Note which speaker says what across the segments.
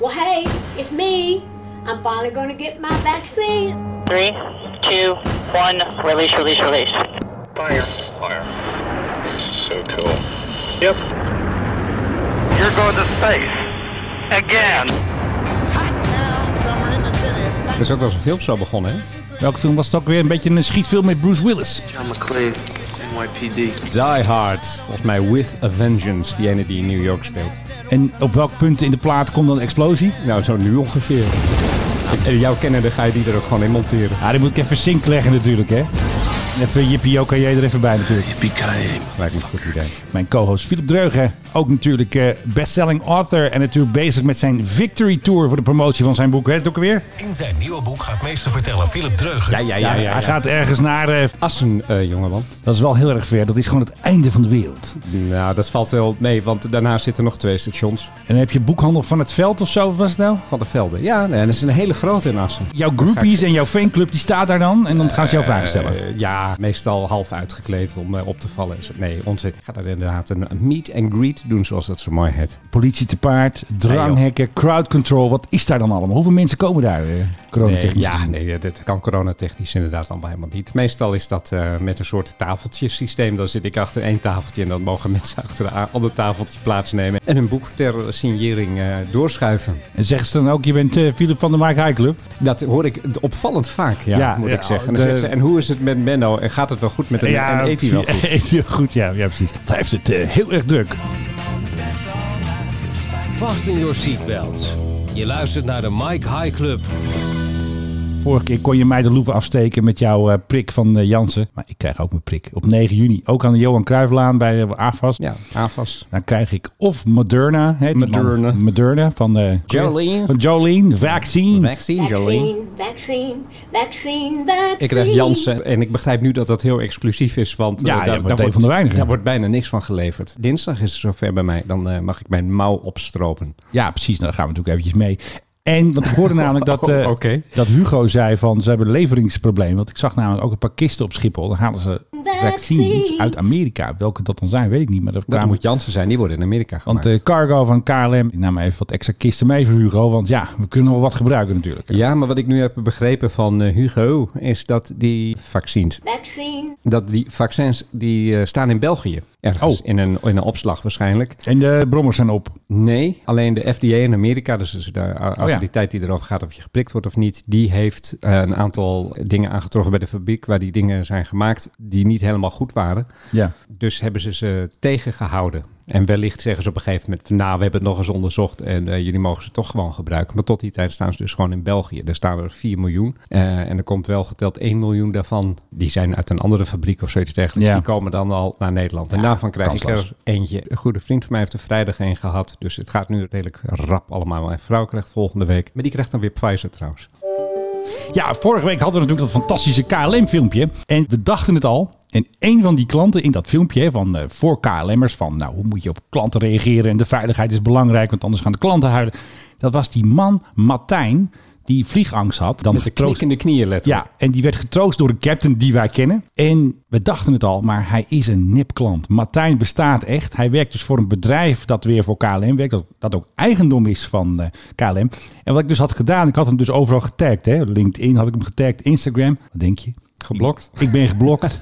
Speaker 1: well, hey, it's me. I'm finally going to get my vaccine.
Speaker 2: Three, two, one, release, release, release.
Speaker 3: Fire.
Speaker 4: Fire. This is so cool.
Speaker 3: Yep.
Speaker 2: You're going to space. Again.
Speaker 5: Er is ook wel eens een filmshow begonnen, hè? Welke film was het ook weer? Een beetje een schietfilm met Bruce Willis.
Speaker 6: John McClane, NYPD.
Speaker 5: Die Hard. Volgens mij With a Vengeance, die ene die in New York speelt. En op welk punt in de plaat komt dan een explosie? Nou, zo nu ongeveer. En jouw kennende ga je die er ook gewoon in monteren.
Speaker 7: Ja, die moet ik even zink leggen natuurlijk, hè. Even Jippie Joka jij er even bij natuurlijk.
Speaker 5: Lijkt me een goed idee.
Speaker 7: Mijn co-host Philip Dreugen, ook natuurlijk eh, bestselling author en natuurlijk bezig met zijn Victory Tour voor de promotie van zijn boek. Hè, doe ik weer?
Speaker 8: In zijn nieuwe boek gaat meester vertellen Philip Dreugen.
Speaker 5: Ja, ja, ja. ja,
Speaker 7: Hij gaat ergens naar. eh,
Speaker 5: Assen, eh, jongeman.
Speaker 7: dat is wel heel erg ver. Dat is gewoon het einde van de wereld.
Speaker 5: Nou, dat valt wel mee, want daarna zitten nog twee stations
Speaker 7: En dan heb je boekhandel van het veld of zo, wat was het nou?
Speaker 5: van de velden. Ja, nee, dat is een hele grote in Assen.
Speaker 7: Jouw groupies en jouw fanclub die staat daar dan en dan gaan ze jou vragen stellen.
Speaker 5: Eh, ja, meestal half uitgekleed om eh, op te vallen. Nee, onzin. Gaat daar inderdaad een meet and greet doen, zoals dat zo mooi heet.
Speaker 7: Politie te paard, dranghekken, crowd control. Wat is daar dan allemaal? Hoeveel mensen komen daar? eh, Coronatechnisch.
Speaker 5: Nee, ja,
Speaker 7: gezien?
Speaker 5: nee, dat- dat kan coronatechnisch inderdaad allemaal helemaal niet. Meestal is dat eh, met een soort tafeltjesysteem. Dan zit ik achter één tafeltje en dan mogen mensen achter een a- ander tafeltje plaatsnemen. En hun boek ter signering eh, doorschuiven.
Speaker 7: En zeggen ze dan ook, je bent eh, Philip van de Mike High Club?
Speaker 5: Dat hoor ik opvallend vaak, ja,
Speaker 7: Ja,
Speaker 5: moet
Speaker 7: ja,
Speaker 5: ik zeggen. En, dan
Speaker 7: de-
Speaker 5: zeggen ze, en hoe is het met Menno? En gaat het wel goed met hem? en eet hij wel goed?
Speaker 7: eet hij wel goed, ja, ja precies. Hij heeft het eh, heel erg druk.
Speaker 8: Vast in your seatbelts. Je luistert naar de Mike High Club.
Speaker 7: Vorige keer kon je mij de loeven afsteken met jouw eh, prik van eh, Jansen. Maar ik krijg ook mijn prik op 9 juni. Ook aan de Johan Cruijfflaan bij eh, AFAS.
Speaker 5: Ja, AFAS.
Speaker 7: Dan krijg ik of Moderna. Hè, die man-
Speaker 5: Moderna.
Speaker 7: Moderna van, eh,
Speaker 5: Jolene.
Speaker 7: van Jolene. Vaccine.
Speaker 5: Vaccine, Jolene.
Speaker 1: Vaccine, vaccine, vaccine, vaccine.
Speaker 5: Ik krijg Jansen en ik begrijp nu dat dat heel exclusief is, want eh,
Speaker 7: Ja, jij
Speaker 5: daar,
Speaker 7: wordt
Speaker 5: daar
Speaker 7: een
Speaker 5: wordt,
Speaker 7: van de weinigen.
Speaker 5: daar wordt bijna niks van geleverd. Dinsdag is het zover bij mij, dan eh, mag ik mijn mouw opstropen.
Speaker 7: Ja, precies. Nou, daar gaan we natuurlijk eventjes mee. En want ik hoorde namelijk dat, eh,
Speaker 5: Oh, Oké.
Speaker 7: dat Hugo zei van ze hebben een leveringsprobleem. Want ik zag namelijk ook een paar kisten op Schiphol. Dan halen ze vaccins uit Amerika. Welke dat dan zijn, weet ik niet. Maar dat
Speaker 5: Dat
Speaker 7: kwamen-
Speaker 5: moet Jansen zijn, die worden in Amerika gemaakt.
Speaker 7: Want de cargo van KLM die nam even wat extra kisten mee voor Hugo. Want ja, we kunnen nog wel wat gebruiken natuurlijk.
Speaker 5: ja, maar wat ik nu heb begrepen van eh, Hugo is dat die vaccins,
Speaker 1: Vaccine,
Speaker 5: dat die vaccins die eh, staan in België. Ergens
Speaker 7: Oh.
Speaker 5: in, een, in een opslag waarschijnlijk.
Speaker 7: En de brommers zijn op.
Speaker 5: Nee, alleen de FDA in Amerika, dus de eh,
Speaker 7: Oh
Speaker 5: autoriteit die erover gaat of je geprikt wordt of niet, die heeft eh, een aantal dingen aangetroffen bij de fabriek waar die dingen zijn gemaakt die niet helemaal goed waren.
Speaker 7: Ja.
Speaker 5: Dus hebben ze ze tegengehouden. En wellicht zeggen ze op een gegeven moment van nou, we hebben het nog eens onderzocht en eh, jullie mogen ze toch gewoon gebruiken. Maar tot die tijd staan ze dus gewoon in België. Daar staan er 4 miljoen. Eh, en er komt wel geteld 1 miljoen daarvan. Die zijn uit een andere fabriek of zoiets dergelijks.
Speaker 7: Ja.
Speaker 5: Die komen dan al naar Nederland. En daarvan krijg ik
Speaker 7: kansloos.
Speaker 5: er eentje. Een goede vriend van mij heeft er vrijdag een gehad. Dus het gaat nu redelijk rap allemaal. Mijn vrouw krijgt volgende week. Maar die krijgt dan weer Pfizer trouwens.
Speaker 7: Ja, vorige week hadden we natuurlijk dat fantastische KLM-filmpje. En we dachten het al. En een van die klanten in dat filmpje hè, van eh, voor KLM'ers van nou, hoe moet je op klanten reageren en de veiligheid is belangrijk, want anders gaan de klanten huilen. Dat was die man Martijn die vliegangst had. Dan
Speaker 5: Met de knik in de knieën letterlijk.
Speaker 7: Ja, en die werd getroost door een captain die wij kennen. En we dachten het al, maar hij is een nipklant. Martijn bestaat echt. Hij werkt dus voor een bedrijf dat weer voor KLM werkt. Dat, dat ook eigendom is van eh, KLM. En wat ik dus had gedaan, ik had hem dus overal getagd. Hè? LinkedIn had ik hem getagd, Instagram. Wat denk je?
Speaker 5: Geblokt.
Speaker 7: Ik ben geblokt.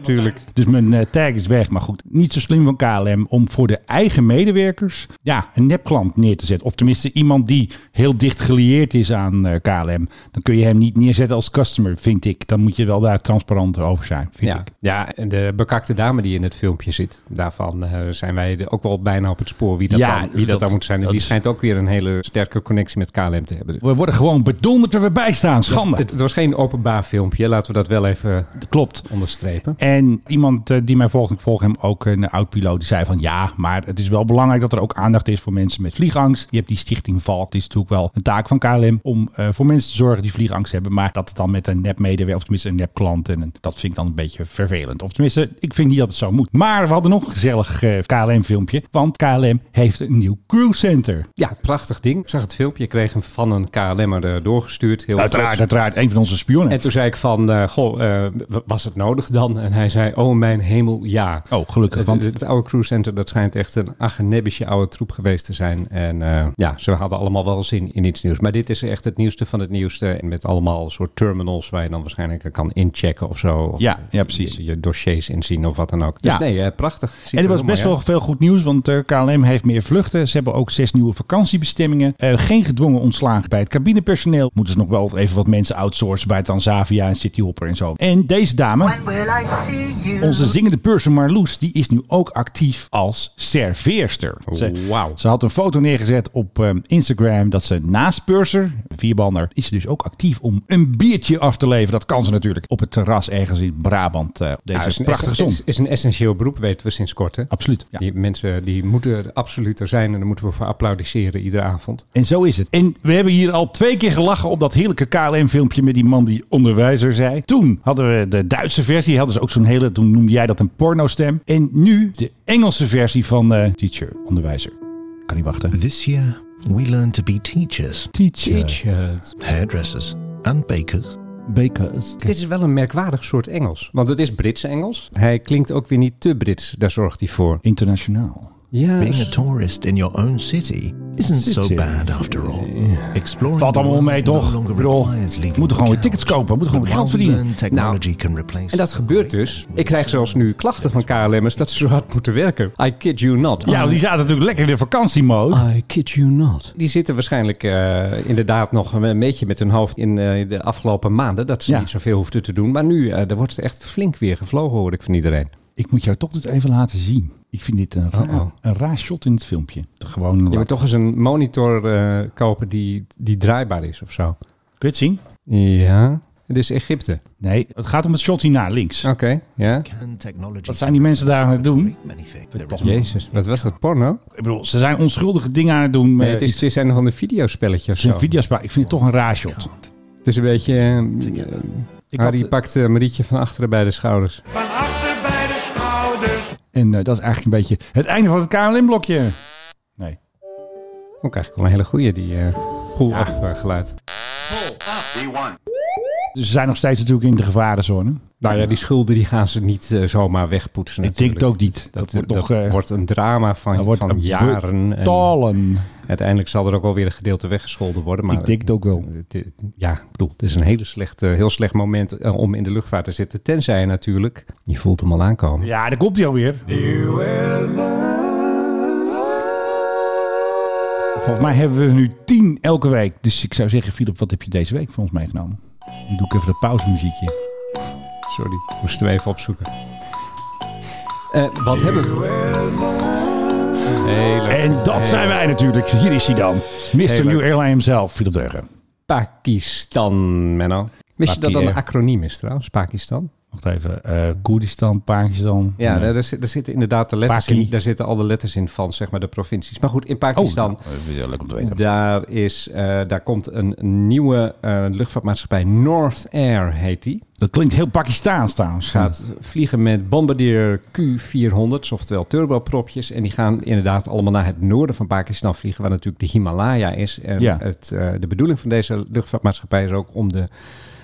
Speaker 7: Tuurlijk. Dus mijn eh, tag is weg. Maar goed, niet zo slim van KLM om voor de eigen medewerkers ja, een nepklant neer te zetten. Of tenminste iemand die heel dicht gelieerd is aan eh, KLM. Dan kun je hem niet neerzetten als customer, vind ik. Dan moet je wel daar transparant over zijn, vind
Speaker 5: Ja,
Speaker 7: ik.
Speaker 5: ja, en de bekakte dame die in het filmpje zit, daarvan eh, zijn wij de- ook wel bijna op het spoor wie dat,
Speaker 7: Ja,
Speaker 5: dan, wie dat,
Speaker 7: dat-
Speaker 5: dan moet zijn. En
Speaker 7: dat
Speaker 5: die
Speaker 7: is-
Speaker 5: schijnt ook weer een hele sterke connectie met KLM te hebben. Dus
Speaker 7: We worden gewoon bedonderd waar we bij staan. Schande.
Speaker 5: Het, het was geen openbaar filmpje, laten we dat wel even
Speaker 7: klopt.
Speaker 5: onderstrepen.
Speaker 7: En iemand eh, die mij volgt, ik volg hem ook, eh, een oud-piloot, die zei van ja, maar het is wel belangrijk dat er ook aandacht is voor mensen met vliegangst. Je hebt die stichting Valk, die is natuurlijk wel een taak van KLM om eh, voor mensen te zorgen die vliegangst hebben. Maar dat het dan met een nep-medewerker, of tenminste een nep-klant, en een- dat vind ik dan een beetje vervelend. Of tenminste, ik vind niet dat het zo moet. Maar we hadden nog een gezellig eh, KLM-filmpje, want KLM heeft een nieuw crewcenter.
Speaker 5: Ja, prachtig ding. Ik zag het filmpje, ik kreeg hem van een KLM'er eh, doorgestuurd. Heel
Speaker 7: Uiteraard,
Speaker 5: trots.
Speaker 7: uiteraard, een van onze spionnen.
Speaker 5: En toen zei ik van, eh, goh, goh, eh, w- was het nodig dan? En hij zei, oh mijn hemel, ja.
Speaker 7: Oh, gelukkig.
Speaker 5: Het,
Speaker 7: Want
Speaker 5: het oude cruise center, dat schijnt echt een agenebbische oude troep geweest te zijn. En eh, ja, ze hadden allemaal wel zin in iets nieuws. Maar dit is echt het nieuwste van het nieuwste. En met allemaal soort terminals waar je dan waarschijnlijk kan inchecken of zo. Of
Speaker 7: Ja, ja, precies.
Speaker 5: Je, je dossiers inzien of wat dan ook. Dus
Speaker 7: Ja.
Speaker 5: nee, eh, prachtig. Ziet
Speaker 7: en er was
Speaker 5: heel
Speaker 7: best
Speaker 5: mooi
Speaker 7: wel
Speaker 5: uit.
Speaker 7: veel goed nieuws, want eh, KLM heeft meer vluchten. Ze hebben ook zes nieuwe vakantiebestemmingen. Eh, geen gedwongen ontslagen bij het cabinepersoneel. Moeten ze nog wel even wat mensen outsourcen bij Tanzavia en Cityhopper en zo. En deze dame, onze zingende person Marloes, die is nu ook actief als serveerster. Ze-
Speaker 5: Wauw.
Speaker 7: Ze had een foto neergezet op eh, Instagram dat ze naast Purser, vierbander, is ze dus ook actief om een biertje af te leveren. Dat kan ze natuurlijk op het terras ergens in Brabant. eh, op deze
Speaker 5: Ja, is een
Speaker 7: prachtige
Speaker 5: essen-
Speaker 7: zon.
Speaker 5: Is, is een essentieel beroep, weten we sinds kort. Hè?
Speaker 7: Absoluut. Ja.
Speaker 5: Die mensen die moeten er absoluut er zijn en daar moeten we voor applaudisseren iedere avond.
Speaker 7: En zo is het. En we hebben hier al twee keer gelachen op dat heerlijke KLM-filmpje met die man die onderwijzer zei. Toen hadden we de Duitse versie, hadden ze ook zo'n hele, toen noemde jij dat een pornostem. En nu de Engelse versie van eh, teacher, onderwijzer. Kan niet wachten.
Speaker 3: This year, we learned to be teachers,
Speaker 7: Teacher.
Speaker 3: hairdressers, and bakers.
Speaker 7: Bakers.
Speaker 5: Dit is wel een merkwaardig soort Engels. Want het is Brits Engels. Hij klinkt ook weer niet te Brits. Daar zorgt hij voor.
Speaker 7: Internationaal.
Speaker 5: Ja,
Speaker 3: Being a tourist in your own city isn't so
Speaker 7: City.
Speaker 3: bad after all. Exploring
Speaker 7: Valt
Speaker 3: the
Speaker 7: allemaal
Speaker 3: world
Speaker 7: mee, toch?
Speaker 3: No longer
Speaker 7: Ik bedoel,
Speaker 3: requires leaving
Speaker 7: we moeten
Speaker 3: the
Speaker 7: gewoon weer
Speaker 3: couch.
Speaker 7: tickets kopen, we moeten gewoon weer geld
Speaker 3: But well-learned
Speaker 7: verdienen. Nou,
Speaker 3: technology can replace
Speaker 5: En dat gebeurt dus. Ik krijg zelfs nu klachten van KLM'ers dat ze zo hard moeten werken. I kid you not.
Speaker 7: Ja, want die zaten natuurlijk lekker in de vakantiemode.
Speaker 5: I kid you not. Die zitten waarschijnlijk eh, inderdaad nog een- een beetje met hun hoofd in eh, de afgelopen maanden. Dat ze
Speaker 7: Ja.
Speaker 5: niet zoveel hoefden te doen. Maar nu, eh er wordt echt flink weer gevlogen, hoor ik van iedereen.
Speaker 7: Ik moet jou toch dit even laten zien. Ik vind dit een, ra-
Speaker 5: Uh-oh.
Speaker 7: een raar shot in het filmpje. Gewoon een
Speaker 5: Je moet toch eens een monitor eh, kopen die, die draaibaar is of zo.
Speaker 7: Kun je het zien?
Speaker 5: Ja. Het is Egypte.
Speaker 7: Nee, Ah. het gaat om het shot hierna, links.
Speaker 5: Oké, ja.
Speaker 7: Wat zijn die mensen daar aan het doen?
Speaker 5: Jezus, wat was dat, porno?
Speaker 7: Ik bedoel, ze zijn onschuldige dingen aan het doen.
Speaker 5: Nee,
Speaker 7: eh, met
Speaker 5: het is, het is een van de videospelletje of
Speaker 7: het is
Speaker 5: zo.
Speaker 7: een videospraak. Ik vind het toch een raar shot.
Speaker 5: Het is een beetje... eh,
Speaker 7: Ik had,
Speaker 5: Harry pakt eh, Marietje van achteren bij de schouders.
Speaker 7: en eh, dat is eigenlijk een beetje het einde van het KLM-blokje. Nee.
Speaker 5: Ook eigenlijk wel een hele goeie, die eh poel af eh, geluid.
Speaker 7: Dus ze zijn nog steeds natuurlijk in de gevarenzone.
Speaker 5: Nou ja, die schulden die gaan ze niet eh, zomaar wegpoetsen
Speaker 7: Ik denk het
Speaker 5: natuurlijk.
Speaker 7: ook niet. Dat, wordt toch... eh,
Speaker 5: wordt een drama van,
Speaker 7: dat wordt
Speaker 5: van
Speaker 7: een
Speaker 5: jaren. En
Speaker 7: talen.
Speaker 5: uiteindelijk zal er ook wel weer een gedeelte weggescholden worden. Maar
Speaker 7: Ik denk het ook wel.
Speaker 5: het- het- ja, ik bedoel, het is een hele slechte, heel slecht moment eh, om in de luchtvaart te zitten. Tenzij je natuurlijk, je voelt hem al aankomen.
Speaker 7: Ja, daar komt hij alweer. Volgens mij hebben we er nu tien elke week. Dus ik zou zeggen, Philip, wat heb je deze week voor ons meegenomen? Dan doe ik even dat pauzemuziekje.
Speaker 5: Sorry, moesten we even opzoeken. Eh, wat hebben we? Hele
Speaker 7: En dat zijn wij natuurlijk. Hier is hij dan. Mr.
Speaker 5: Heel leuk.
Speaker 7: New Airline himself, Philip Dreugen.
Speaker 5: Pakistan, Menno. Wist je dat dat een
Speaker 7: Pakistan.
Speaker 5: acroniem is trouwens, Pakistan?
Speaker 7: Wacht even. eh, Koerdistan, Pakistan.
Speaker 5: Ja,
Speaker 7: Nee.
Speaker 5: daar, daar zit- daar zitten inderdaad de letters
Speaker 7: Paki.
Speaker 5: in. Daar zitten al de letters in van, zeg maar, de provincies. Maar goed, in Pakistan,
Speaker 7: Oh, nou, dat is heel leuk om te weten.
Speaker 5: daar, is, eh, daar komt een nieuwe eh, luchtvaartmaatschappij. North Air heet die.
Speaker 7: Dat klinkt heel Pakistaans trouwens.
Speaker 5: Gaat vliegen met Bombardier Q400, oftewel turbopropjes. En die gaan inderdaad allemaal naar het noorden van Pakistan vliegen, waar natuurlijk de Himalaya is. En
Speaker 7: Ja.
Speaker 5: het, eh, de bedoeling van deze luchtvaartmaatschappij is ook om de...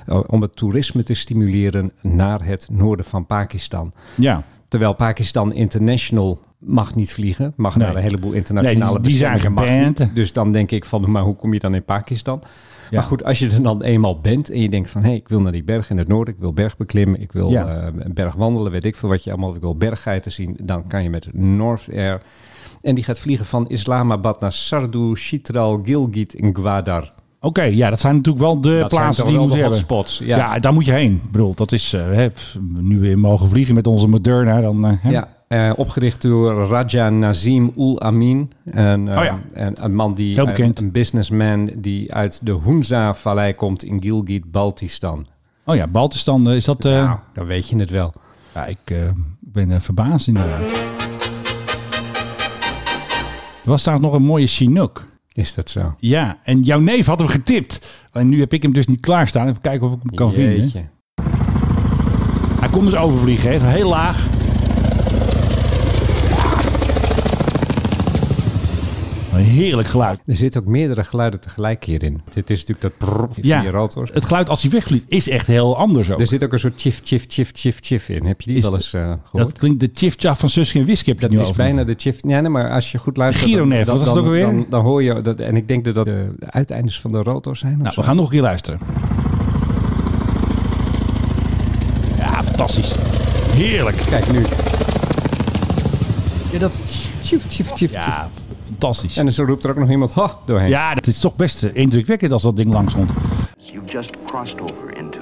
Speaker 5: eh, Om het toerisme te stimuleren naar het noorden van Pakistan.
Speaker 7: Ja.
Speaker 5: Terwijl Pakistan International mag niet vliegen. Mag
Speaker 7: Nee.
Speaker 5: naar een heleboel internationale
Speaker 7: Nee, die- die zijn
Speaker 5: bestemmingen, mag
Speaker 7: geband.
Speaker 5: niet. Dus dan denk ik van, maar hoe kom je dan in Pakistan?
Speaker 7: Ja.
Speaker 5: Maar goed, als je er dan eenmaal bent en je denkt van... hé, hey, ik wil naar die berg in het noorden, ik wil berg beklimmen... ik wil
Speaker 7: Ja.
Speaker 5: eh, berg wandelen, weet ik veel wat je allemaal... ik wil berggeiten zien, dan kan je met North Air... en die gaat vliegen van Islamabad naar Sardu, Chitral, Gilgit en Gwadar.
Speaker 7: Oké, ja, dat zijn natuurlijk wel
Speaker 5: Dat
Speaker 7: de
Speaker 5: zijn
Speaker 7: plaatsen
Speaker 5: toch
Speaker 7: die je
Speaker 5: wel
Speaker 7: moet
Speaker 5: de
Speaker 7: hebben.
Speaker 5: hotspots.
Speaker 7: Ja.
Speaker 5: Ja.
Speaker 7: daar moet je heen. Ik bedoel, dat is... eh, hè, pff, nu weer mogen vliegen met onze Moderna, dan... eh, hè?
Speaker 5: Ja, eh, opgericht door Raja Nazim Ul Amin. En, eh,
Speaker 7: Oh ja.
Speaker 5: en een man die, eh,
Speaker 7: Heel bekend.
Speaker 5: Een, businessman die uit de Hunza-vallei komt in Gilgit, Baltistan.
Speaker 7: Oh ja, Baltistan, eh, is dat... eh,
Speaker 5: nou, dan weet je het wel.
Speaker 7: Ja, ik eh, ben eh, verbaasd inderdaad. Er was daar nog een mooie Chinook.
Speaker 5: Is dat zo?
Speaker 7: Ja, en jouw neef had hem getipt. En nu heb ik hem dus niet klaarstaan. Even kijken of ik hem kan vinden.
Speaker 5: Jeetje.
Speaker 7: Hij kon dus overvliegen, hè. heel laag. Ja. een heerlijk geluid.
Speaker 5: Er zitten ook meerdere geluiden tegelijk hierin. Dit is natuurlijk dat prrr van
Speaker 7: Ja,
Speaker 5: die rotors.
Speaker 7: het geluid als hij wegvliegt is echt heel anders ook.
Speaker 5: Er zit ook een soort chif, chif, chif, chif, chif in. Heb je die
Speaker 7: Is-
Speaker 5: wel eens eh,
Speaker 7: dat
Speaker 5: gehoord?
Speaker 7: klinkt de chif-chaf van Suske en Wiske. heb je
Speaker 5: Dat,
Speaker 7: het nu
Speaker 5: is
Speaker 7: over.
Speaker 5: bijna de chif. Ja, nee, maar als je goed luistert...
Speaker 7: Gironev, wat is dat ook alweer?
Speaker 5: Dan, dan hoor je dat. En ik denk dat dat de uiteindes van de rotor zijn. of
Speaker 7: Nou,
Speaker 5: zo.
Speaker 7: we gaan nog een keer luisteren. Ja, fantastisch. Heerlijk.
Speaker 5: Kijk nu. Ja, dat chif, chif, chif, chif.
Speaker 7: Ja, f- fantastisch.
Speaker 5: En zo roept er ook nog iemand ha doorheen.
Speaker 7: Ja, dat is toch best eh, indrukwekkend als dat ding langs komt.
Speaker 9: You've just crossed over into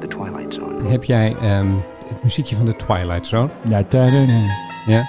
Speaker 9: the Twilight Zone.
Speaker 5: Heb jij ehm, het muziekje van de Twilight Zone?
Speaker 7: Ja, tadadada.
Speaker 5: Ja?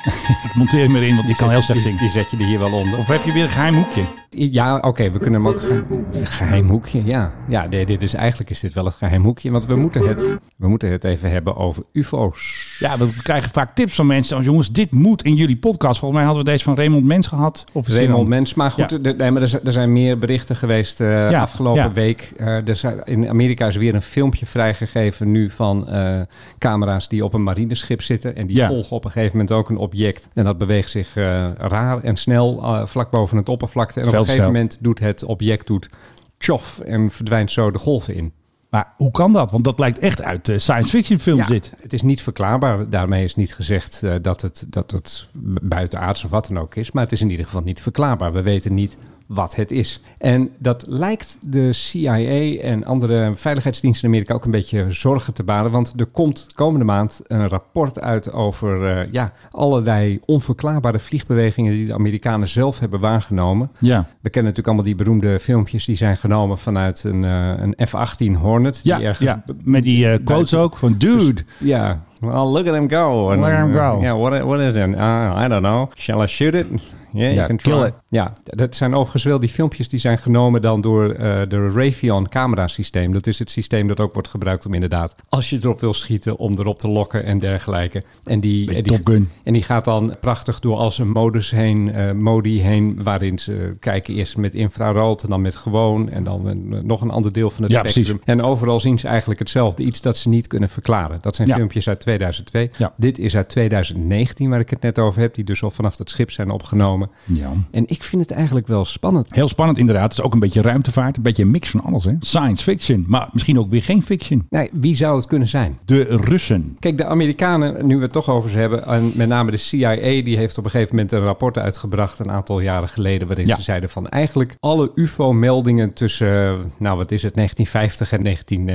Speaker 7: ik monteer hem erin, want ik kan heel
Speaker 5: Die-
Speaker 7: slecht zingen.
Speaker 5: Die zet je er hier wel onder.
Speaker 7: Of heb je weer een geheim hoekje?
Speaker 5: Ja, oké, we kunnen hem ook... Ge geheim hoekje, ja. Ja, dit, dit is, eigenlijk is dit wel het geheim hoekje. Want we moeten het, we moeten het even hebben over ufo's.
Speaker 7: Ja, we krijgen vaak tips van mensen. als jongens, dit moet in jullie podcast. Volgens mij hadden we deze van Raymond Mens gehad. Of is die
Speaker 5: Raymond
Speaker 7: dan-
Speaker 5: Mens, maar goed,
Speaker 7: Ja.
Speaker 5: er, nee, maar er, zijn- er zijn meer berichten geweest eh,
Speaker 7: Ja,
Speaker 5: afgelopen
Speaker 7: ja.
Speaker 5: week. Eh, er zijn, in Amerika is weer een filmpje vrijgegeven nu van eh, camera's die op een marineschip zitten. En die
Speaker 7: Ja.
Speaker 5: volgen op een gegeven moment ook een object. En dat beweegt zich eh, raar en snel eh, vlak boven het oppervlakte. En op een
Speaker 7: Veldsnel.
Speaker 5: gegeven moment doet het object doet tjof en verdwijnt zo de golven in.
Speaker 7: Maar hoe kan dat? Want dat lijkt echt uit eh, science fiction films
Speaker 5: Ja,
Speaker 7: dit.
Speaker 5: Het is niet verklaarbaar. Daarmee is niet gezegd eh, dat, het, dat het buitenaards of wat dan ook is. Maar het is in ieder geval niet verklaarbaar. We weten niet wat het is. En dat lijkt de CIA en andere veiligheidsdiensten in Amerika ook een beetje zorgen te baren. Want er komt komende maand een rapport uit over eh, ja, allerlei onverklaarbare vliegbewegingen die de Amerikanen zelf hebben waargenomen.
Speaker 7: Ja.
Speaker 5: We kennen natuurlijk allemaal die beroemde filmpjes die zijn genomen vanuit een, eh, een F-18 Hornet.
Speaker 7: Ja,
Speaker 5: die ergens
Speaker 7: ja. met die eh, quotes
Speaker 5: buiten- Dus,
Speaker 7: ook. Van dude,
Speaker 5: ja. Well, look at him go.
Speaker 7: Look at him go.
Speaker 5: Ja, what, what is it? Uh, I don't know. Shall I shoot it? Yeah,
Speaker 7: Ja,
Speaker 5: you can try.
Speaker 7: kill it.
Speaker 5: Ja, dat zijn overigens wel die filmpjes die zijn genomen dan door eh, de Raytheon camerasysteem. Dat is het systeem dat ook wordt gebruikt om inderdaad, als je erop wil schieten, om erop te lokken en dergelijke. En die, en die,
Speaker 7: Top Gun.
Speaker 5: en die gaat dan prachtig door als een modus heen, eh, modi heen, waarin ze kijken eerst met infrarood en dan met gewoon en dan een- nog een ander deel van het
Speaker 7: Ja,
Speaker 5: spectrum.
Speaker 7: precies.
Speaker 5: En overal zien ze eigenlijk hetzelfde. Iets dat ze niet kunnen verklaren. Dat zijn
Speaker 7: Ja.
Speaker 5: filmpjes uit 2002.
Speaker 7: Ja.
Speaker 5: Dit is uit 2019 waar ik het net over heb. Die dus al vanaf dat schip zijn opgenomen.
Speaker 7: Ja.
Speaker 5: En ik vind het eigenlijk wel spannend.
Speaker 7: Heel spannend inderdaad. Het is ook een beetje ruimtevaart. Een beetje een mix van alles. Hè? Science fiction, maar misschien ook weer geen fiction.
Speaker 5: Nee, wie zou het kunnen zijn?
Speaker 7: De Russen.
Speaker 5: Kijk, de Amerikanen, nu we het toch over ze hebben, en met name de CIA, die heeft op een gegeven moment een rapport uitgebracht een aantal jaren geleden, waarin
Speaker 7: Ja.
Speaker 5: ze zeiden van eigenlijk alle UFO-meldingen tussen, eh, nou wat is het, 1950 en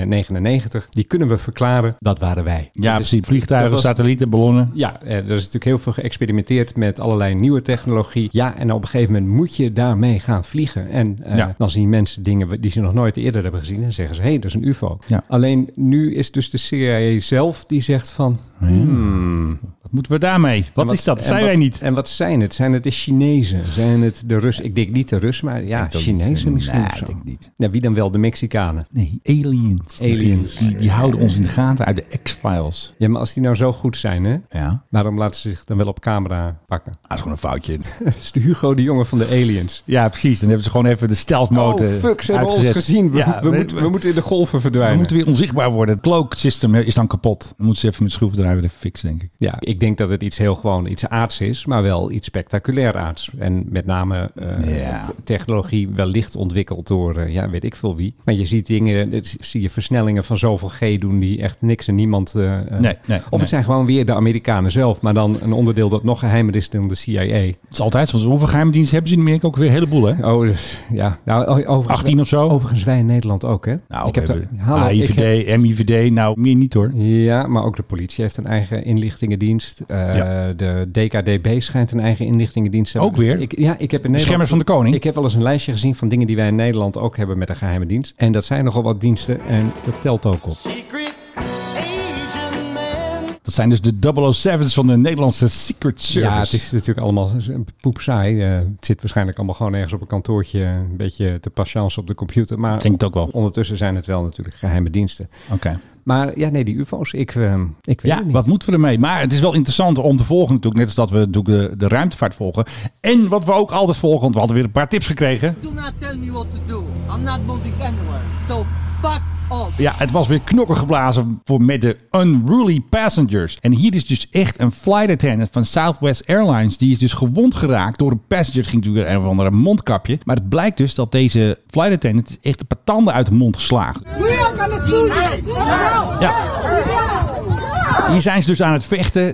Speaker 5: 1999, die kunnen we verklaren, dat waren wij.
Speaker 7: Ja,
Speaker 5: Dat is-
Speaker 7: precies. Vliegtuigen,
Speaker 5: dat was-
Speaker 7: satellieten, ballonnen.
Speaker 5: ja, eh, er is natuurlijk heel veel geëxperimenteerd met allerlei nieuwe technologie. Ja, en op een gegeven moment moet je daarmee gaan vliegen. En eh,
Speaker 7: Ja.
Speaker 5: dan zien mensen dingen die ze nog nooit eerder hebben gezien. En zeggen ze, hé, hey, dat is een UFO.
Speaker 7: Ja.
Speaker 5: Alleen nu is dus de CIA zelf die zegt van... hmm,
Speaker 7: Wat moeten we daarmee? Wat
Speaker 5: en
Speaker 7: is dat?
Speaker 5: en
Speaker 7: Zijn
Speaker 5: wat-
Speaker 7: wij niet.
Speaker 5: En wat zijn het? Zijn het de Chinezen? Zijn het de Russen? Ik denk niet de Russen, maar ja,
Speaker 7: denk ook
Speaker 5: Chinezen
Speaker 7: niet.
Speaker 5: misschien.
Speaker 7: Nee,
Speaker 5: of zo.
Speaker 7: ik denk niet.
Speaker 5: Ja, wie dan wel? De Mexicanen.
Speaker 7: Nee, aliens.
Speaker 5: Aliens.
Speaker 7: Die, die houden ons in de gaten uit de X-Files.
Speaker 5: Ja, maar als die nou zo goed zijn, hè?
Speaker 7: Ja.
Speaker 5: Waarom laten ze zich dan wel op camera pakken?
Speaker 7: Dat Ah, is gewoon een foutje.
Speaker 5: Dat is de Hugo de Jonge van de aliens.
Speaker 7: Ja, precies. Dan hebben ze gewoon even de stealth mode
Speaker 5: Oh fuck, ze hebben ons
Speaker 7: uitgezet.
Speaker 5: gezien. We,
Speaker 7: Ja,
Speaker 5: we, moeten, we moeten in de golven
Speaker 7: we
Speaker 5: verdwijnen.
Speaker 7: moeten weer onzichtbaar worden. Het cloak system is dan kapot. Dan moeten ze even met schroevendraaier even fixen, denk ik.
Speaker 5: Ja, ik denk dat het iets heel gewoon iets aards is, maar wel iets spectaculair aards. En met name eh,
Speaker 7: Ja.
Speaker 5: t- technologie wellicht ontwikkeld door, eh, ja, weet ik veel wie. Maar je ziet dingen, het- zie je versnellingen van zoveel G doen die echt niks en niemand... eh, eh,
Speaker 7: Nee, nee,
Speaker 5: of
Speaker 7: nee.
Speaker 5: het zijn gewoon weer de Amerikanen zelf, maar dan een onderdeel dat nog geheimer is dan de CIA.
Speaker 7: Het is altijd zo. Hoeveel geheime diensten hebben ze in Amerika ook weer? Een heleboel, hè?
Speaker 5: Oh, dus, ja. Nou, o- overigens,
Speaker 7: 18 of zo?
Speaker 5: Overigens wij in Nederland ook, hè?
Speaker 7: Nou,
Speaker 5: ik heb
Speaker 7: we
Speaker 5: daar-
Speaker 7: hebben
Speaker 5: Hallo, ik heb-
Speaker 7: AIVD, MIVD, nou meer niet hoor.
Speaker 5: Ja, maar ook de politie heeft een eigen inlichtingendienst. Eh,
Speaker 7: Ja.
Speaker 5: De DKDB schijnt een eigen inlichtingendienst te hebben.
Speaker 7: Ook weer?
Speaker 5: Ik, ja, ik heb in Nederland...
Speaker 7: Beschermers van de koning?
Speaker 5: Ik heb wel eens een lijstje gezien van dingen die wij in Nederland ook hebben met een geheime dienst. En dat zijn nogal wat diensten en dat telt ook op.
Speaker 7: Dat zijn dus de 007's van de Nederlandse Secret Service.
Speaker 5: Ja, het is natuurlijk allemaal z- z- poepsaai. Eh, het zit waarschijnlijk allemaal gewoon ergens op een kantoortje een beetje te patience op de computer. Maar
Speaker 7: Denk het ook wel.
Speaker 5: ondertussen zijn het wel natuurlijk geheime diensten.
Speaker 7: Oké.
Speaker 5: Maar ja, nee, die ufo's, ik, eh, ik weet
Speaker 7: Ja,
Speaker 5: het niet.
Speaker 7: wat moeten we ermee? Maar het is wel interessant om te volgen natuurlijk. Net als dat we natuurlijk de, de ruimtevaart volgen. En wat we ook altijd volgen, want we hadden weer een paar tips gekregen.
Speaker 10: Do not tell me what to do. I'm not moving anywhere. So fuck op.
Speaker 7: Ja, het was weer knokken geblazen voor met de unruly passengers. En hier is dus echt een flight attendant van Southwest Airlines. Die is dus gewond geraakt door een passenger. Het ging natuurlijk een of andere mondkapje. Maar het blijkt dus dat deze flight attendant is echt de patanden uit de mond geslagen.
Speaker 10: We are gonna do this.
Speaker 7: Ja, hier zijn ze dus aan het vechten.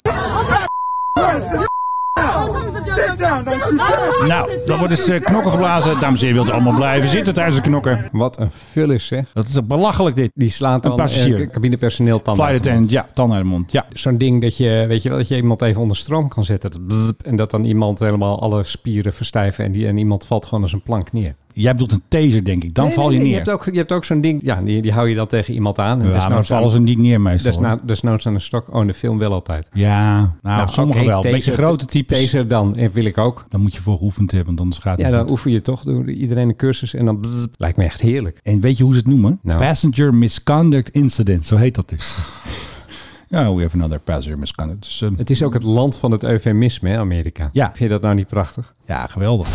Speaker 7: Nou, dan wordt dus eh, knokken geblazen. Dames en heren, wilt u allemaal blijven zitten tijdens de knokken?
Speaker 5: Wat een vullis, zeg.
Speaker 7: Dat is belachelijk dit.
Speaker 5: Die slaat dan
Speaker 7: Een
Speaker 5: eh,
Speaker 7: passagier.
Speaker 5: k- cabinepersoneel tanden
Speaker 7: Flight
Speaker 5: uit de mond.
Speaker 7: attendant, ja, tanden uit de mond. Ja,
Speaker 5: Zo'n ding dat je, weet je wel, dat je iemand even onder stroom kan zetten. Dat bzzp, en dat dan iemand helemaal alle spieren verstijven en, die, en iemand valt gewoon als een plank neer.
Speaker 7: jij bedoelt een taser, denk ik. Dan
Speaker 5: Nee,
Speaker 7: val
Speaker 5: nee,
Speaker 7: je
Speaker 5: nee,
Speaker 7: neer.
Speaker 5: Je hebt ook, nou je hebt ook zo'n ding, ja, die, die hou je dan tegen iemand aan. En
Speaker 7: Ja, maar dan
Speaker 5: desnoods
Speaker 7: vallen
Speaker 5: aan-
Speaker 7: ze niet neer meestal. hoor.
Speaker 5: desna- Desnoods aan een stok. Oh, in de film wel altijd.
Speaker 7: Ja, nou, op sommige
Speaker 5: oké,
Speaker 7: wel. Een
Speaker 5: taser-
Speaker 7: beetje grote types.
Speaker 5: Taser dan, eh, wil ik ook.
Speaker 7: Dan moet je voor geoefend hebben, want anders gaat het
Speaker 5: Ja,
Speaker 7: niet
Speaker 5: dan
Speaker 7: goed.
Speaker 5: oefen je toch door iedereen een cursus en dan bzzp. lijkt me echt heerlijk.
Speaker 7: En weet je hoe ze het noemen?
Speaker 5: Nou.
Speaker 7: Passenger Misconduct Incident. Zo heet dat dus. ja, we have another passenger misconduct. Dus, ehm,
Speaker 5: Het is ook het land van het eufemisme, hè, Amerika.
Speaker 7: Ja.
Speaker 5: Vind je dat nou niet prachtig?
Speaker 7: ja, geweldig.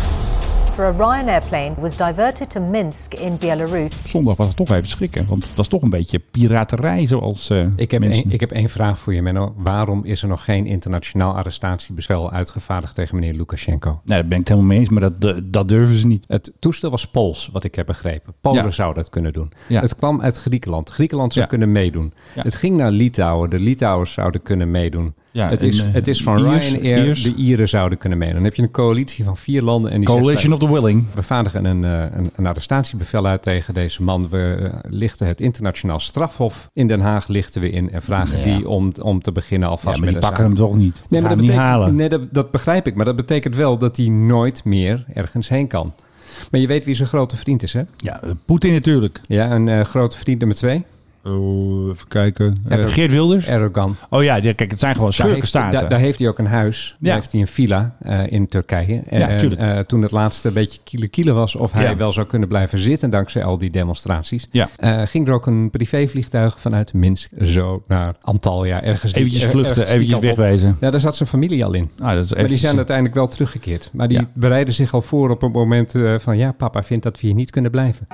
Speaker 10: For a Ryanair plane was diverted to Minsk in Belarus.
Speaker 7: Zondag was het toch even schrikken, want het was toch een beetje piraterij zoals eh,
Speaker 5: Ik heb,
Speaker 7: mensen-
Speaker 5: één, ik heb één vraag voor je, Menno. Waarom is er nog geen internationaal arrestatiebevel uitgevaardigd tegen meneer Lukashenko?
Speaker 7: Nee, Nou, daar ben ik het helemaal mee eens, maar dat, dat- dat durven ze niet.
Speaker 5: Het toestel was Pools, wat ik heb begrepen. Polen
Speaker 7: Ja.
Speaker 5: zou dat kunnen doen.
Speaker 7: Ja.
Speaker 5: Het kwam uit Griekenland. Griekenland zou
Speaker 7: Ja.
Speaker 5: kunnen meedoen.
Speaker 7: Ja.
Speaker 5: Het ging naar Litouwen. De Litouwers zouden kunnen meedoen.
Speaker 7: Ja,
Speaker 5: het,
Speaker 7: en,
Speaker 5: is,
Speaker 7: eh,
Speaker 5: het is van
Speaker 7: Iers-
Speaker 5: Ryanair.
Speaker 7: Iers.
Speaker 5: De Ieren zouden kunnen meedoen. Dan heb je een coalitie van vier landen. En die zegt,
Speaker 7: Coalition of the Willing.
Speaker 5: we vaardigen een, eh, een, een arrestatiebevel uit tegen deze man. We eh, lichten het internationaal strafhof in Den Haag lichten we in. En vragen
Speaker 7: Ja.
Speaker 5: die om, om te beginnen alvast
Speaker 7: Ja, maar
Speaker 5: met
Speaker 7: die
Speaker 5: een
Speaker 7: pakken
Speaker 5: zaak.
Speaker 7: hem toch niet. Die
Speaker 5: Nee, maar
Speaker 7: gaan
Speaker 5: dat,
Speaker 7: hem niet
Speaker 5: betekent-
Speaker 7: halen.
Speaker 5: nee dat, dat begrijp ik. Maar dat betekent wel dat hij nooit meer ergens heen kan. Maar je weet wie zijn grote vriend is, hè?
Speaker 7: Ja, eh, Poetin natuurlijk.
Speaker 5: Ja, een eh, grote vriend nummer twee.
Speaker 7: Oh, even kijken. Eh,
Speaker 5: Erdogan.
Speaker 7: Geert Wilders.
Speaker 5: Erdogan.
Speaker 7: Oh ja, die- kijk, het zijn gewoon
Speaker 5: Daar heeft,
Speaker 7: schurkenstaten.
Speaker 5: daar- daar heeft hij ook een huis.
Speaker 7: Ja.
Speaker 5: Daar heeft hij een villa eh, in Turkije. En,
Speaker 7: Ja, tuurlijk.
Speaker 5: eh, toen het laatste een beetje kiele kiele was... of hij
Speaker 7: Ja.
Speaker 5: wel zou kunnen blijven zitten dankzij al die demonstraties...
Speaker 7: Ja.
Speaker 5: eh, ging er ook een privévliegtuig vanuit Minsk zo naar Antalya. Ergens die-
Speaker 7: Eventjes
Speaker 5: er-
Speaker 7: vluchten,
Speaker 5: ergens die
Speaker 7: eventjes
Speaker 5: kant op.
Speaker 7: wegwezen.
Speaker 5: Ja, daar zat zijn familie al in.
Speaker 7: Ah, dat is
Speaker 5: maar die
Speaker 7: eventjes-
Speaker 5: zijn uiteindelijk wel teruggekeerd. Maar die
Speaker 7: Ja.
Speaker 5: bereiden zich al voor op het moment eh, van... ja, papa vindt dat we hier niet kunnen blijven.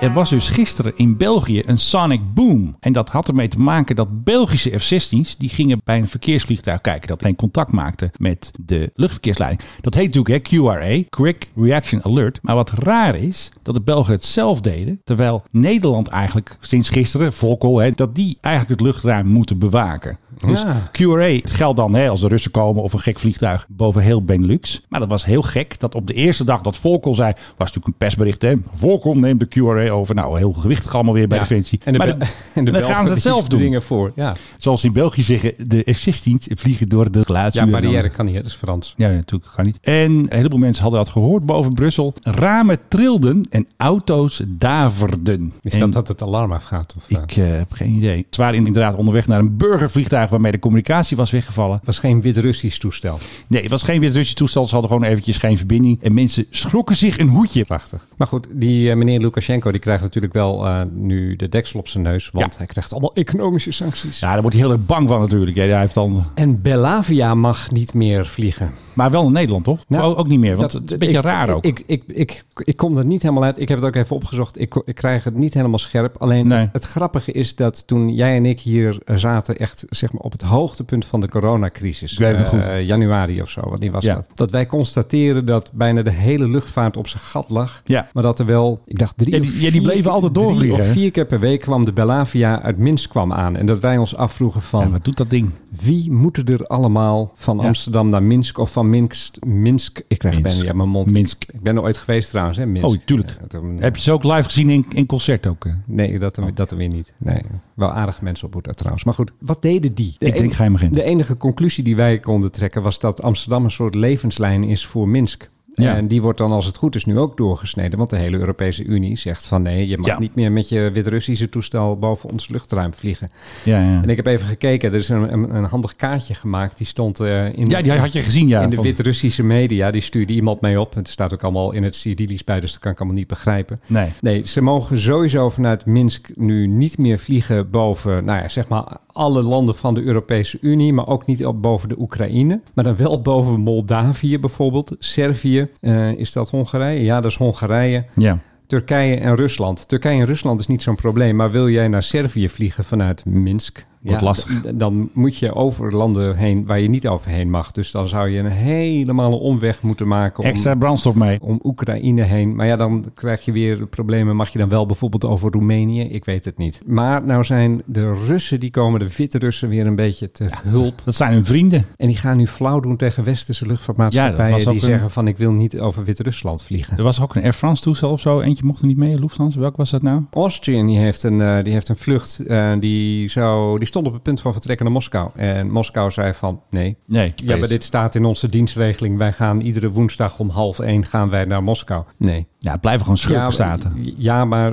Speaker 7: Er was dus gisteren in België een sonic boom. En dat had ermee te maken dat Belgische F-16's... die gingen bij een verkeersvliegtuig kijken... dat geen contact maakte met de luchtverkeersleiding. Dat heet natuurlijk hè, QRA, Quick Reaction Alert. Maar wat raar is, dat de Belgen het zelf deden... terwijl Nederland eigenlijk sinds gisteren, Volkel... Hè, dat die eigenlijk het luchtruim moeten bewaken. Dus
Speaker 5: Ja.
Speaker 7: QRA geldt dan hè, als de Russen komen of een gek vliegtuig boven heel Benelux. Maar dat was heel gek dat op de eerste dag dat Volkel zei, was natuurlijk een persbericht. Hè? Volkel neemt de QRA over. Nou, heel gewichtig allemaal weer bij
Speaker 5: Ja.
Speaker 7: Defensie.
Speaker 5: En de,
Speaker 7: maar
Speaker 5: Bel-
Speaker 7: de-
Speaker 5: en de
Speaker 7: dan
Speaker 5: Belgen
Speaker 7: gaan
Speaker 5: die
Speaker 7: ze het zelf doen.
Speaker 5: dringen voor. Ja,
Speaker 7: Zoals ze in België zeggen, de F-16's vliegen door de
Speaker 5: ja
Speaker 7: geluidsmuur.
Speaker 5: barrière kan niet, hè, dat is Frans.
Speaker 7: Ja, natuurlijk kan niet. En een heleboel mensen hadden dat gehoord boven Brussel. Ramen trilden en auto's daverden.
Speaker 5: Is
Speaker 7: En-
Speaker 5: dat dat het alarm afgaat? Of, eh,
Speaker 7: Ik eh, heb geen idee. Ze waren inderdaad onderweg naar een burgervliegtuig waarmee de communicatie was weggevallen.
Speaker 5: Het was geen Wit-Russisch toestel.
Speaker 7: Nee, het was geen Wit-Russisch toestel. Ze hadden gewoon eventjes geen verbinding. En mensen schrokken zich een hoedje. Prachtig.
Speaker 5: Maar goed, die eh, meneer Lukashenko die krijgt natuurlijk wel eh, nu de deksel op zijn neus. Want
Speaker 7: Ja.
Speaker 5: hij krijgt allemaal economische sancties.
Speaker 7: Ja, daar wordt hij heel erg bang van natuurlijk. Ja, hij heeft dan...
Speaker 5: En Belavia mag niet meer vliegen.
Speaker 7: Maar wel in Nederland, toch?
Speaker 5: Nou,
Speaker 7: ook, ook niet meer, want
Speaker 5: Dat-
Speaker 7: het is een beetje
Speaker 5: ik-
Speaker 7: raar ook.
Speaker 5: Ik, ik, ik, ik kom er niet helemaal uit. Ik heb het ook even opgezocht. Ik, ko- ik krijg het niet helemaal scherp. Alleen
Speaker 7: Nee.
Speaker 5: het, het grappige is dat toen jij en ik hier eh, zaten... echt zeg maar, op het hoogtepunt van de coronacrisis.
Speaker 7: Ik weet het nog
Speaker 5: eh,
Speaker 7: goed.
Speaker 5: eh, januari of zo, wanneer was
Speaker 7: Ja.
Speaker 5: dat? Dat wij constateren dat bijna de hele luchtvaart op zijn gat lag.
Speaker 7: Ja.
Speaker 5: Maar dat er wel, ik dacht drie
Speaker 7: Ja,
Speaker 5: of
Speaker 7: die- ja, die
Speaker 5: vier-
Speaker 7: bleven altijd
Speaker 5: drie
Speaker 7: doorvliegen,
Speaker 5: of
Speaker 7: hè?
Speaker 5: vier keer per week kwam de Belavia uit Minsk kwam aan. En dat wij ons afvroegen van...
Speaker 7: Ja, wat doet dat ding?
Speaker 5: Wie moeten er allemaal van
Speaker 7: Ja.
Speaker 5: Amsterdam naar Minsk of van Minsk? Minsk ik krijg
Speaker 7: Minsk.
Speaker 5: bijna niet uit mijn mond.
Speaker 7: Minsk.
Speaker 5: Ik ben er ooit geweest trouwens, hè? Minsk.
Speaker 7: Oh, tuurlijk.
Speaker 5: Eh, dat- eh,
Speaker 7: Heb je ze ook live gezien in, in concert ook? eh?
Speaker 5: Nee, dat, dan- dat dan weer niet. Nee, wel aardige mensen op Boeddha trouwens. Maar goed, wat deden die? De
Speaker 7: Ik drink geen begin.
Speaker 5: De enige conclusie die wij konden trekken was dat Amsterdam een soort levenslijn is voor Minsk.
Speaker 7: Ja.
Speaker 5: En die wordt dan, als het goed is, nu ook doorgesneden. Want de hele Europese Unie zegt van nee, je mag
Speaker 7: Ja.
Speaker 5: niet meer met je Wit-Russische toestel boven ons luchtruim vliegen.
Speaker 7: Ja, ja.
Speaker 5: En ik heb even gekeken, er is een, een, een handig kaartje gemaakt. Die stond eh, in,
Speaker 7: ja, die had je gezien, ja.
Speaker 5: in de
Speaker 7: Van-
Speaker 5: Wit-Russische media. Die stuurde iemand mee op. Het staat ook allemaal in het Cyrillisch bij, dus dat kan ik allemaal niet begrijpen.
Speaker 7: Nee.
Speaker 5: Nee, ze mogen sowieso vanuit Minsk nu niet meer vliegen boven, nou ja, zeg maar alle landen van de Europese Unie, maar ook niet op boven de Oekraïne, maar dan wel boven Moldavië bijvoorbeeld, Servië, eh, is dat Hongarije? Ja, dat is Hongarije.
Speaker 7: Ja.
Speaker 5: Turkije en Rusland. Turkije en Rusland is niet zo'n probleem, maar wil jij naar Servië vliegen vanuit Minsk?
Speaker 7: Wordt lastig.
Speaker 5: d- Dan moet je over landen heen waar je niet overheen mag. Dus dan zou je een helemaal omweg moeten maken om,
Speaker 7: Extra brandstof mee.
Speaker 5: om Oekraïne heen. Maar ja, dan krijg je weer problemen. Mag je dan wel bijvoorbeeld over Roemenië? Ik weet het niet. Maar nou zijn de Russen, die komen de witte Russen weer een beetje te hulp.
Speaker 7: Dat zijn hun vrienden.
Speaker 5: En die gaan nu flauw doen tegen westerse
Speaker 7: Ja, dat
Speaker 5: luchtvaartmaatschappijen.
Speaker 7: was ook
Speaker 5: die
Speaker 7: een-
Speaker 5: zeggen van ik wil niet over Wit-Rusland vliegen.
Speaker 7: Er was ook een Air France toestel of zo. Eentje mocht er niet mee, Lufthansa. Welk was dat nou?
Speaker 5: Austrian die heeft een, eh, die heeft een vlucht. eh, die, zou, die stond op het punt van vertrekken naar Moskou. En Moskou zei van nee.
Speaker 7: Nee.
Speaker 5: Ja, maar dit staat in onze dienstregeling. Wij gaan iedere woensdag om half één gaan wij naar Moskou. Nee.
Speaker 7: Ja, het blijven gewoon schurkenstaten.
Speaker 5: Ja, ja, maar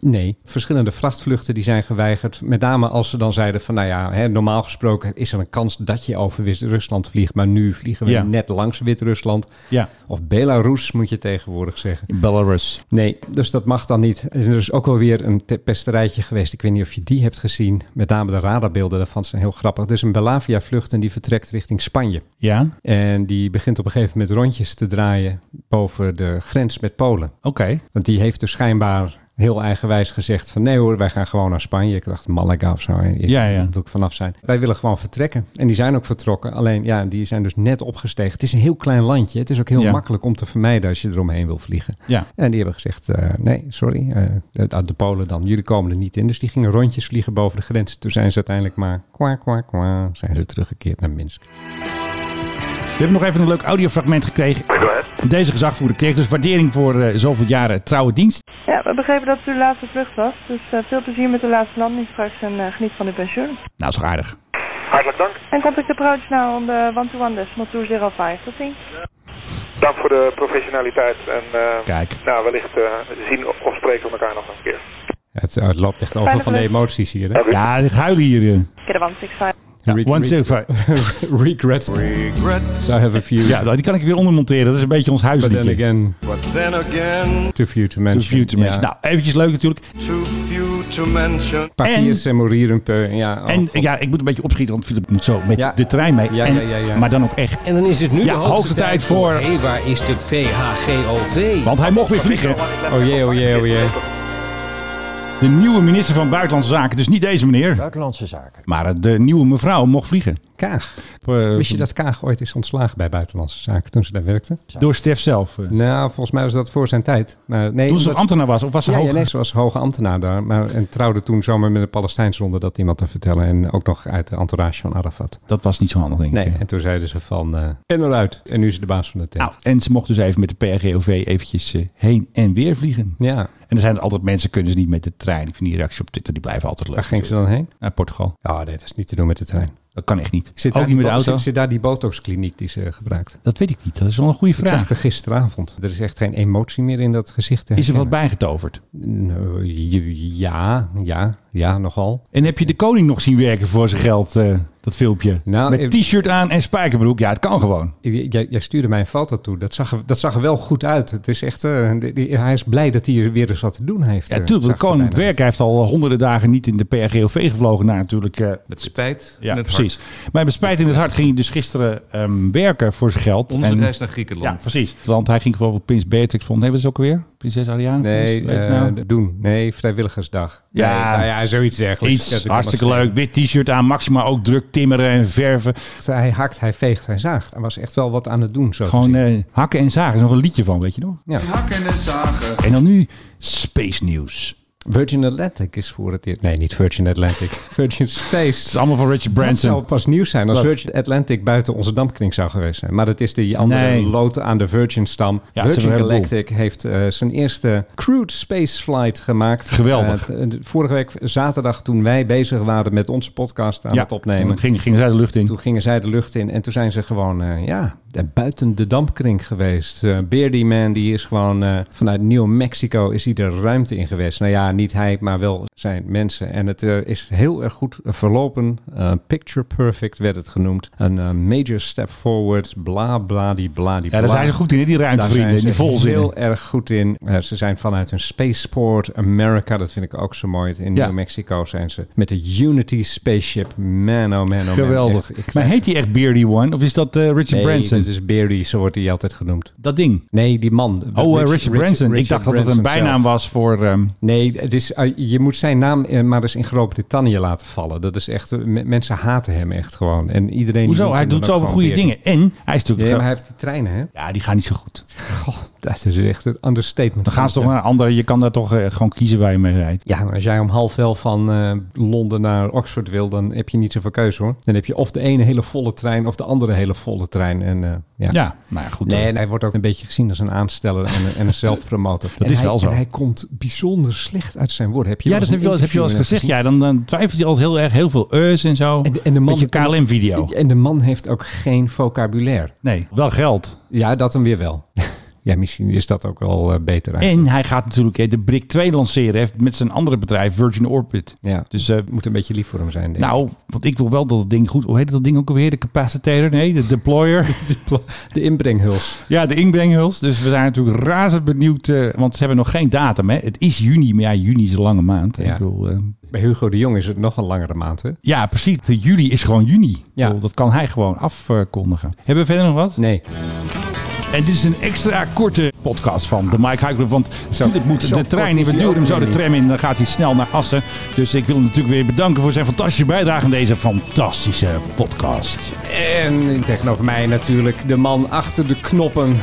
Speaker 5: nee. Verschillende vrachtvluchten die zijn geweigerd. Met name als ze dan zeiden van, nou ja, hè, normaal gesproken is er een kans dat je over Wit-Rusland vliegt. Maar nu vliegen we
Speaker 7: Ja.
Speaker 5: net langs Wit-Rusland.
Speaker 7: Ja.
Speaker 5: Of Belarus moet je tegenwoordig zeggen.
Speaker 7: Belarus.
Speaker 5: Nee, dus dat mag dan niet. En er is ook wel weer een te- pesterijtje geweest. Ik weet niet of je die hebt gezien. Met name de radarbeelden daarvan zijn heel grappig. Er is een Belavia-vlucht en die vertrekt richting Spanje.
Speaker 7: Ja, oké.
Speaker 5: En die begint op een gegeven moment rondjes te draaien boven de grens met Polen. Want die heeft dus schijnbaar heel eigenwijs gezegd van nee hoor, wij gaan gewoon naar Spanje. Ik dacht Malaga of zo. hè. Ik,
Speaker 7: Ja, ja.
Speaker 5: daar wil ik vanaf zijn. Wij willen gewoon vertrekken. En die zijn ook vertrokken. Alleen ja, die zijn dus net opgestegen. Het is een heel klein landje. Het is ook heel
Speaker 7: Ja.
Speaker 5: makkelijk om te vermijden als je eromheen wil vliegen.
Speaker 7: Ja.
Speaker 5: En die hebben gezegd, eh, nee, sorry, eh, uit de Polen dan. Jullie komen er niet in. Dus die gingen rondjes vliegen boven de grens. Toen zijn ze uiteindelijk maar kwa, kwa, kwa, zijn ze teruggekeerd naar Minsk.
Speaker 7: We hebben nog even een leuk audiofragment gekregen. Deze gezagvoerder kreeg dus waardering voor eh, zoveel jaren trouwe dienst.
Speaker 11: Ja, we begrepen dat het uw laatste vlucht was. Dus eh, veel plezier met de laatste landing straks en eh, geniet van uw pensioen.
Speaker 7: Nou, is toch aardig.
Speaker 4: Hartelijk dank.
Speaker 11: En contact approach now on the nou one-to-one decimal 205. Tot ziens.
Speaker 4: Dank voor de professionaliteit. En eh,
Speaker 7: Kijk.
Speaker 4: nou, wellicht eh, zien of spreken we elkaar nog een keer.
Speaker 5: Het, eh, het loopt echt over
Speaker 11: Fijne
Speaker 5: van de
Speaker 11: vlucht.
Speaker 5: emoties hier. Hè?
Speaker 7: Ja, ik huil hier. eh.
Speaker 11: Get a 165.
Speaker 7: Ja,
Speaker 5: Re-
Speaker 7: one
Speaker 5: re-
Speaker 7: silver.
Speaker 5: Regrets. I have a few.
Speaker 7: Ja, nou, die kan ik weer ondermonteren. Dat is een beetje ons
Speaker 5: But then
Speaker 7: huisliedje.
Speaker 5: again,
Speaker 9: But then again,
Speaker 5: too few to mention.
Speaker 7: To future mensen.
Speaker 5: Ja.
Speaker 7: Nou, eventjes leleuk natuurlijk.
Speaker 9: too few to mention.
Speaker 5: Partiers en morier een peu. eh, Ja, oh,
Speaker 7: en
Speaker 5: God.
Speaker 7: ja, ik moet een beetje opschieten, want Philip moet zo met
Speaker 5: Ja.
Speaker 7: de trein mee.
Speaker 5: Ja,
Speaker 7: En-
Speaker 5: ja, ja, ja.
Speaker 7: Maar dan ook echt.
Speaker 8: En dan is het nu
Speaker 7: Ja,
Speaker 8: de hoogste, tijd voor... Hé, waar is de PHGOV?
Speaker 7: Want hij mocht weer vliegen.
Speaker 5: Oh jee, oh jee, oh jee.
Speaker 7: De nieuwe minister van Buitenlandse Zaken. Dus niet deze meneer. Buitenlandse Zaken. Maar eh, de nieuwe mevrouw mocht vliegen.
Speaker 5: Kaag.
Speaker 7: Eh,
Speaker 5: Wist je dat Kaag ooit is ontslagen bij Buitenlandse Zaken toen ze daar werkte?
Speaker 7: Door Stef zelf. eh.
Speaker 5: Nou, volgens mij was dat voor zijn tijd. Maar nee,
Speaker 7: Toen ze
Speaker 5: omdat-
Speaker 7: ambtenaar was, of was ze
Speaker 5: Ja,
Speaker 7: hoog?
Speaker 5: ja, nee, ze was hoge ambtenaar daar. Maar, en trouwde toen zomaar met een Palestijn zonder dat iemand te vertellen. En ook nog uit de entourage van Arafat.
Speaker 7: Dat was niet zo handig, denk ik.
Speaker 5: Nee,
Speaker 7: ja.
Speaker 5: en toen zeiden ze van... eh, en eruit. En nu is ze de baas van de tent.
Speaker 7: Nou, en ze mocht dus even met de PRGOV eventjes eh, heen en weer vliegen.
Speaker 5: Ja,
Speaker 7: En er zijn altijd mensen, kunnen ze niet met de trein. Ik vind die reactie op Twitter, die blijven altijd leuk.
Speaker 5: waar ging ze dan heen?
Speaker 7: Naar Portugal.
Speaker 5: Ja, nee, dat is niet te doen met de trein.
Speaker 7: Dat kan echt niet.
Speaker 5: Zit
Speaker 7: Ook
Speaker 5: daar
Speaker 7: niet
Speaker 5: die
Speaker 7: met de
Speaker 5: bo-
Speaker 7: auto?
Speaker 5: Zit, zit daar die botoxkliniek die ze gebruikt?
Speaker 7: Dat weet ik niet. Dat is wel een goede
Speaker 5: Ik zag
Speaker 7: vraag.
Speaker 5: er gisteravond. Er is echt geen emotie meer in dat gezicht. te
Speaker 7: Is er wat
Speaker 5: herkennen.
Speaker 7: bijgetoverd?
Speaker 5: Nou, j- ja, ja, ja, nogal.
Speaker 7: En heb je de koning nog zien werken voor zijn geld, eh, dat filmpje?
Speaker 5: Nou,
Speaker 7: Met
Speaker 5: ik-
Speaker 7: t-shirt aan en spijkerbroek. Ja, het kan gewoon.
Speaker 5: J- Jij, jij stuurde mij een foto toe. Dat zag, er, dat zag er wel goed uit. Het is echt, eh, die- die- hij is blij dat hij er weer eens wat te doen heeft.
Speaker 7: Ja,
Speaker 5: eh,
Speaker 7: natuurlijk. De
Speaker 5: zag er
Speaker 7: koning moet
Speaker 5: bijna
Speaker 7: werken. Hij heeft al eh, honderden dagen niet in de PRGOV gevlogen. Na natuurlijk... eh,
Speaker 6: Met spijt
Speaker 7: ja, precies. Maar met spijt in het hart ging hij dus gisteren ehm, werken voor zijn geld. En-
Speaker 6: naar Griekenland.
Speaker 7: Ja, precies. Want hij ging bijvoorbeeld Prins Beatrix vond. Nee, wat is het ook alweer? Prinses Ariane?
Speaker 5: uit. Nee,
Speaker 7: Weet je
Speaker 5: eh,
Speaker 7: nou?
Speaker 5: doen. Nee, vrijwilligersdag.
Speaker 7: Ja.
Speaker 5: Nee, nou ja, zoiets dergelijks. Ja, dat
Speaker 7: Iets
Speaker 5: kan
Speaker 7: hartstikke
Speaker 5: wel
Speaker 7: leuk. Wit t-shirt aan, maximaal ook druk timmeren en verven.
Speaker 5: schelen. Hij hakt, hij veegt, hij zaagt. Hij was echt wel wat aan het doen. Zo te
Speaker 7: Gewoon
Speaker 5: zien.
Speaker 7: eh, hakken en zagen. Er is nog een liedje van, weet je nog?
Speaker 5: Ja.
Speaker 7: Hakken en zagen. En dan nu Space News.
Speaker 5: Virgin Atlantic is voor het eerst. Nee, niet Virgin Atlantic. Virgin Space.
Speaker 7: Het is allemaal van Richard
Speaker 5: Het zou
Speaker 7: Branson.
Speaker 5: pas nieuws zijn als
Speaker 7: Wat?
Speaker 5: Virgin Atlantic buiten onze dampkring zou geweest zijn. Maar dat is die andere
Speaker 7: Nee.
Speaker 5: lood aan de Virgin-stam.
Speaker 7: Ja, het is een
Speaker 5: Virgin
Speaker 7: heleboel.
Speaker 5: Galactic heeft eh, zijn eerste crewed spaceflight gemaakt.
Speaker 7: Geweldig.
Speaker 5: Eh, t- vorige week zaterdag toen wij bezig waren met onze podcast aan het opnemen.
Speaker 7: toen Ging, ging zij de lucht in.
Speaker 5: Toen gingen zij de lucht in en toen zijn ze gewoon eh, ja, buiten de dampkring geweest. Eh Beardy Man die is gewoon eh, vanuit New Mexico is hij de ruimte in geweest. Nou ja, niet hij, maar wel zijn mensen. En het eh, is heel erg goed verlopen. Eh, picture perfect werd het genoemd. Een eh, major step forward, bla bla die bla die
Speaker 7: Ja, daar zijn ze goed in, hè, die ruimtevrienden. Die
Speaker 5: zijn ze
Speaker 7: volzinnen.
Speaker 5: heel erg goed in. Eh, ze zijn vanuit hun Spaceport America, dat vind ik ook zo mooi. In
Speaker 7: Ja.
Speaker 5: New Mexico zijn ze met de Unity Spaceship. Man, oh man, oh man.
Speaker 7: Geweldig.
Speaker 5: Echt, ik
Speaker 7: maar heet die echt Beardy One? Of is dat eh, Richard
Speaker 5: Nee,
Speaker 7: Branson?
Speaker 5: dus, dus Berries wordt hij altijd genoemd.
Speaker 7: Dat ding?
Speaker 5: Nee, die man.
Speaker 7: Oh, eh, Richard Branson. Ik dacht dat het een bijnaam was voor... ehm,
Speaker 5: Nee, het is, eh, je moet zijn naam eh, maar eens in Groot-Brittannië laten vallen. Dat is echt, eh, me- mensen haten hem echt gewoon. En iedereen die
Speaker 7: Hoezo?
Speaker 5: noemt
Speaker 7: Hij
Speaker 5: hem
Speaker 7: doet
Speaker 5: dan ook
Speaker 7: zoveel
Speaker 5: gewoon
Speaker 7: goede
Speaker 5: Berry.
Speaker 7: dingen. En hij is natuurlijk...
Speaker 5: Ja, maar hij heeft de treinen, hè?
Speaker 7: Ja, die gaan niet zo goed.
Speaker 5: Goh, dat is echt een understatement.
Speaker 7: Dan gaan ze toch naar een andere... Je kan daar toch eh, gewoon kiezen waar je mee rijdt.
Speaker 5: Ja, maar als jij om half wel van eh, Londen naar Oxford wil, dan heb je niet zoveel keuze hoor. Dan heb je of de ene hele volle trein of de andere hele volle trein. En, eh, ja.
Speaker 7: Ja, nou ja, goed.
Speaker 5: Nee,
Speaker 7: dan-
Speaker 5: en hij wordt ook een beetje gezien als een aansteller en, een- en een zelfpromotor.
Speaker 7: Dat
Speaker 5: En
Speaker 7: is
Speaker 5: hij-
Speaker 7: wel zo.
Speaker 5: En hij komt bijzonder slecht uit zijn woorden. Heb je
Speaker 7: ja,
Speaker 5: wel
Speaker 7: dat
Speaker 5: eens
Speaker 7: heb je wel,
Speaker 5: een
Speaker 7: heb je wel eens
Speaker 5: interview
Speaker 7: gezegd. Ja, dan, dan twijfelt hij altijd heel erg. Heel veel eus en zo.
Speaker 5: En de- en de man-
Speaker 7: Met je KLM-video.
Speaker 5: En de man heeft ook geen vocabulaire.
Speaker 7: Nee, wel geld.
Speaker 5: Ja, dat dan weer wel. ja, misschien is dat ook wel eh, beter. eigenlijk.
Speaker 7: En hij gaat natuurlijk eh, de Brick 2 lanceren hè, met zijn andere bedrijf, Virgin Orbit.
Speaker 5: Ja, dus
Speaker 7: Dus eh,
Speaker 5: moet een beetje lief voor hem zijn. Denk ik.
Speaker 7: nou, want ik wil wel dat het ding goed... Hoe heet dat ding ook alweer? De capacitator? Nee, de deployer.
Speaker 5: de inbrenghuls.
Speaker 7: ja, de inbrenghuls. Dus we zijn natuurlijk razend benieuwd. eh, want ze hebben nog geen datum, hè. Het is juni, maar ja, juni is een lange maand.
Speaker 5: Ja.
Speaker 7: Ik bedoel, eh,
Speaker 5: Bij Hugo de Jong is het nog een langere maand, hè?
Speaker 7: ja, precies. De juli is gewoon juni. Ik
Speaker 5: Ja.
Speaker 7: bedoel, Dat kan hij gewoon afkondigen. Hebben we verder nog wat?
Speaker 5: Nee.
Speaker 7: En dit is een extra korte podcast van de Mike High Club. Want
Speaker 5: Zo-
Speaker 7: Philip moet
Speaker 5: zo
Speaker 7: de trein
Speaker 5: kort
Speaker 7: in.
Speaker 5: is
Speaker 7: We
Speaker 5: hij
Speaker 7: duwen
Speaker 5: ook
Speaker 7: hem zo de
Speaker 5: weer
Speaker 7: tram in. Dan gaat hij snel naar Assen. Dus ik wil hem natuurlijk weer bedanken voor zijn fantastische bijdrage aan deze fantastische podcast.
Speaker 5: En tegenover mij natuurlijk de man achter de knoppen.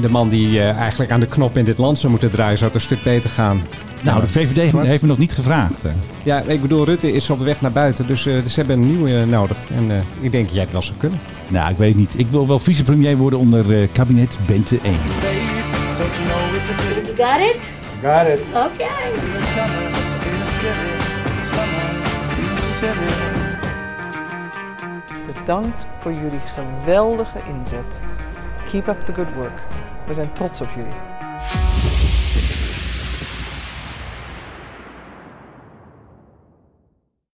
Speaker 5: De man die eh, eigenlijk aan de knop in dit land zou moeten draaien, zou het een stuk beter gaan.
Speaker 7: Nou, de VVD
Speaker 5: Mart?
Speaker 7: heeft me nog niet gevraagd. hè.
Speaker 5: Ja, ik bedoel, Rutte is op weg naar buiten, dus eh, ze hebben een nieuwe eh, nodig. En eh, ik denk dat jij het wel zou kunnen.
Speaker 7: Nou, ik weet niet. Ik wil wel vicepremier worden onder eh, kabinet Bente 1.
Speaker 1: You got it?
Speaker 4: Got it.
Speaker 1: Okay.
Speaker 12: Bedankt voor jullie geweldige inzet. Keep up the good work. We zijn trots op jullie.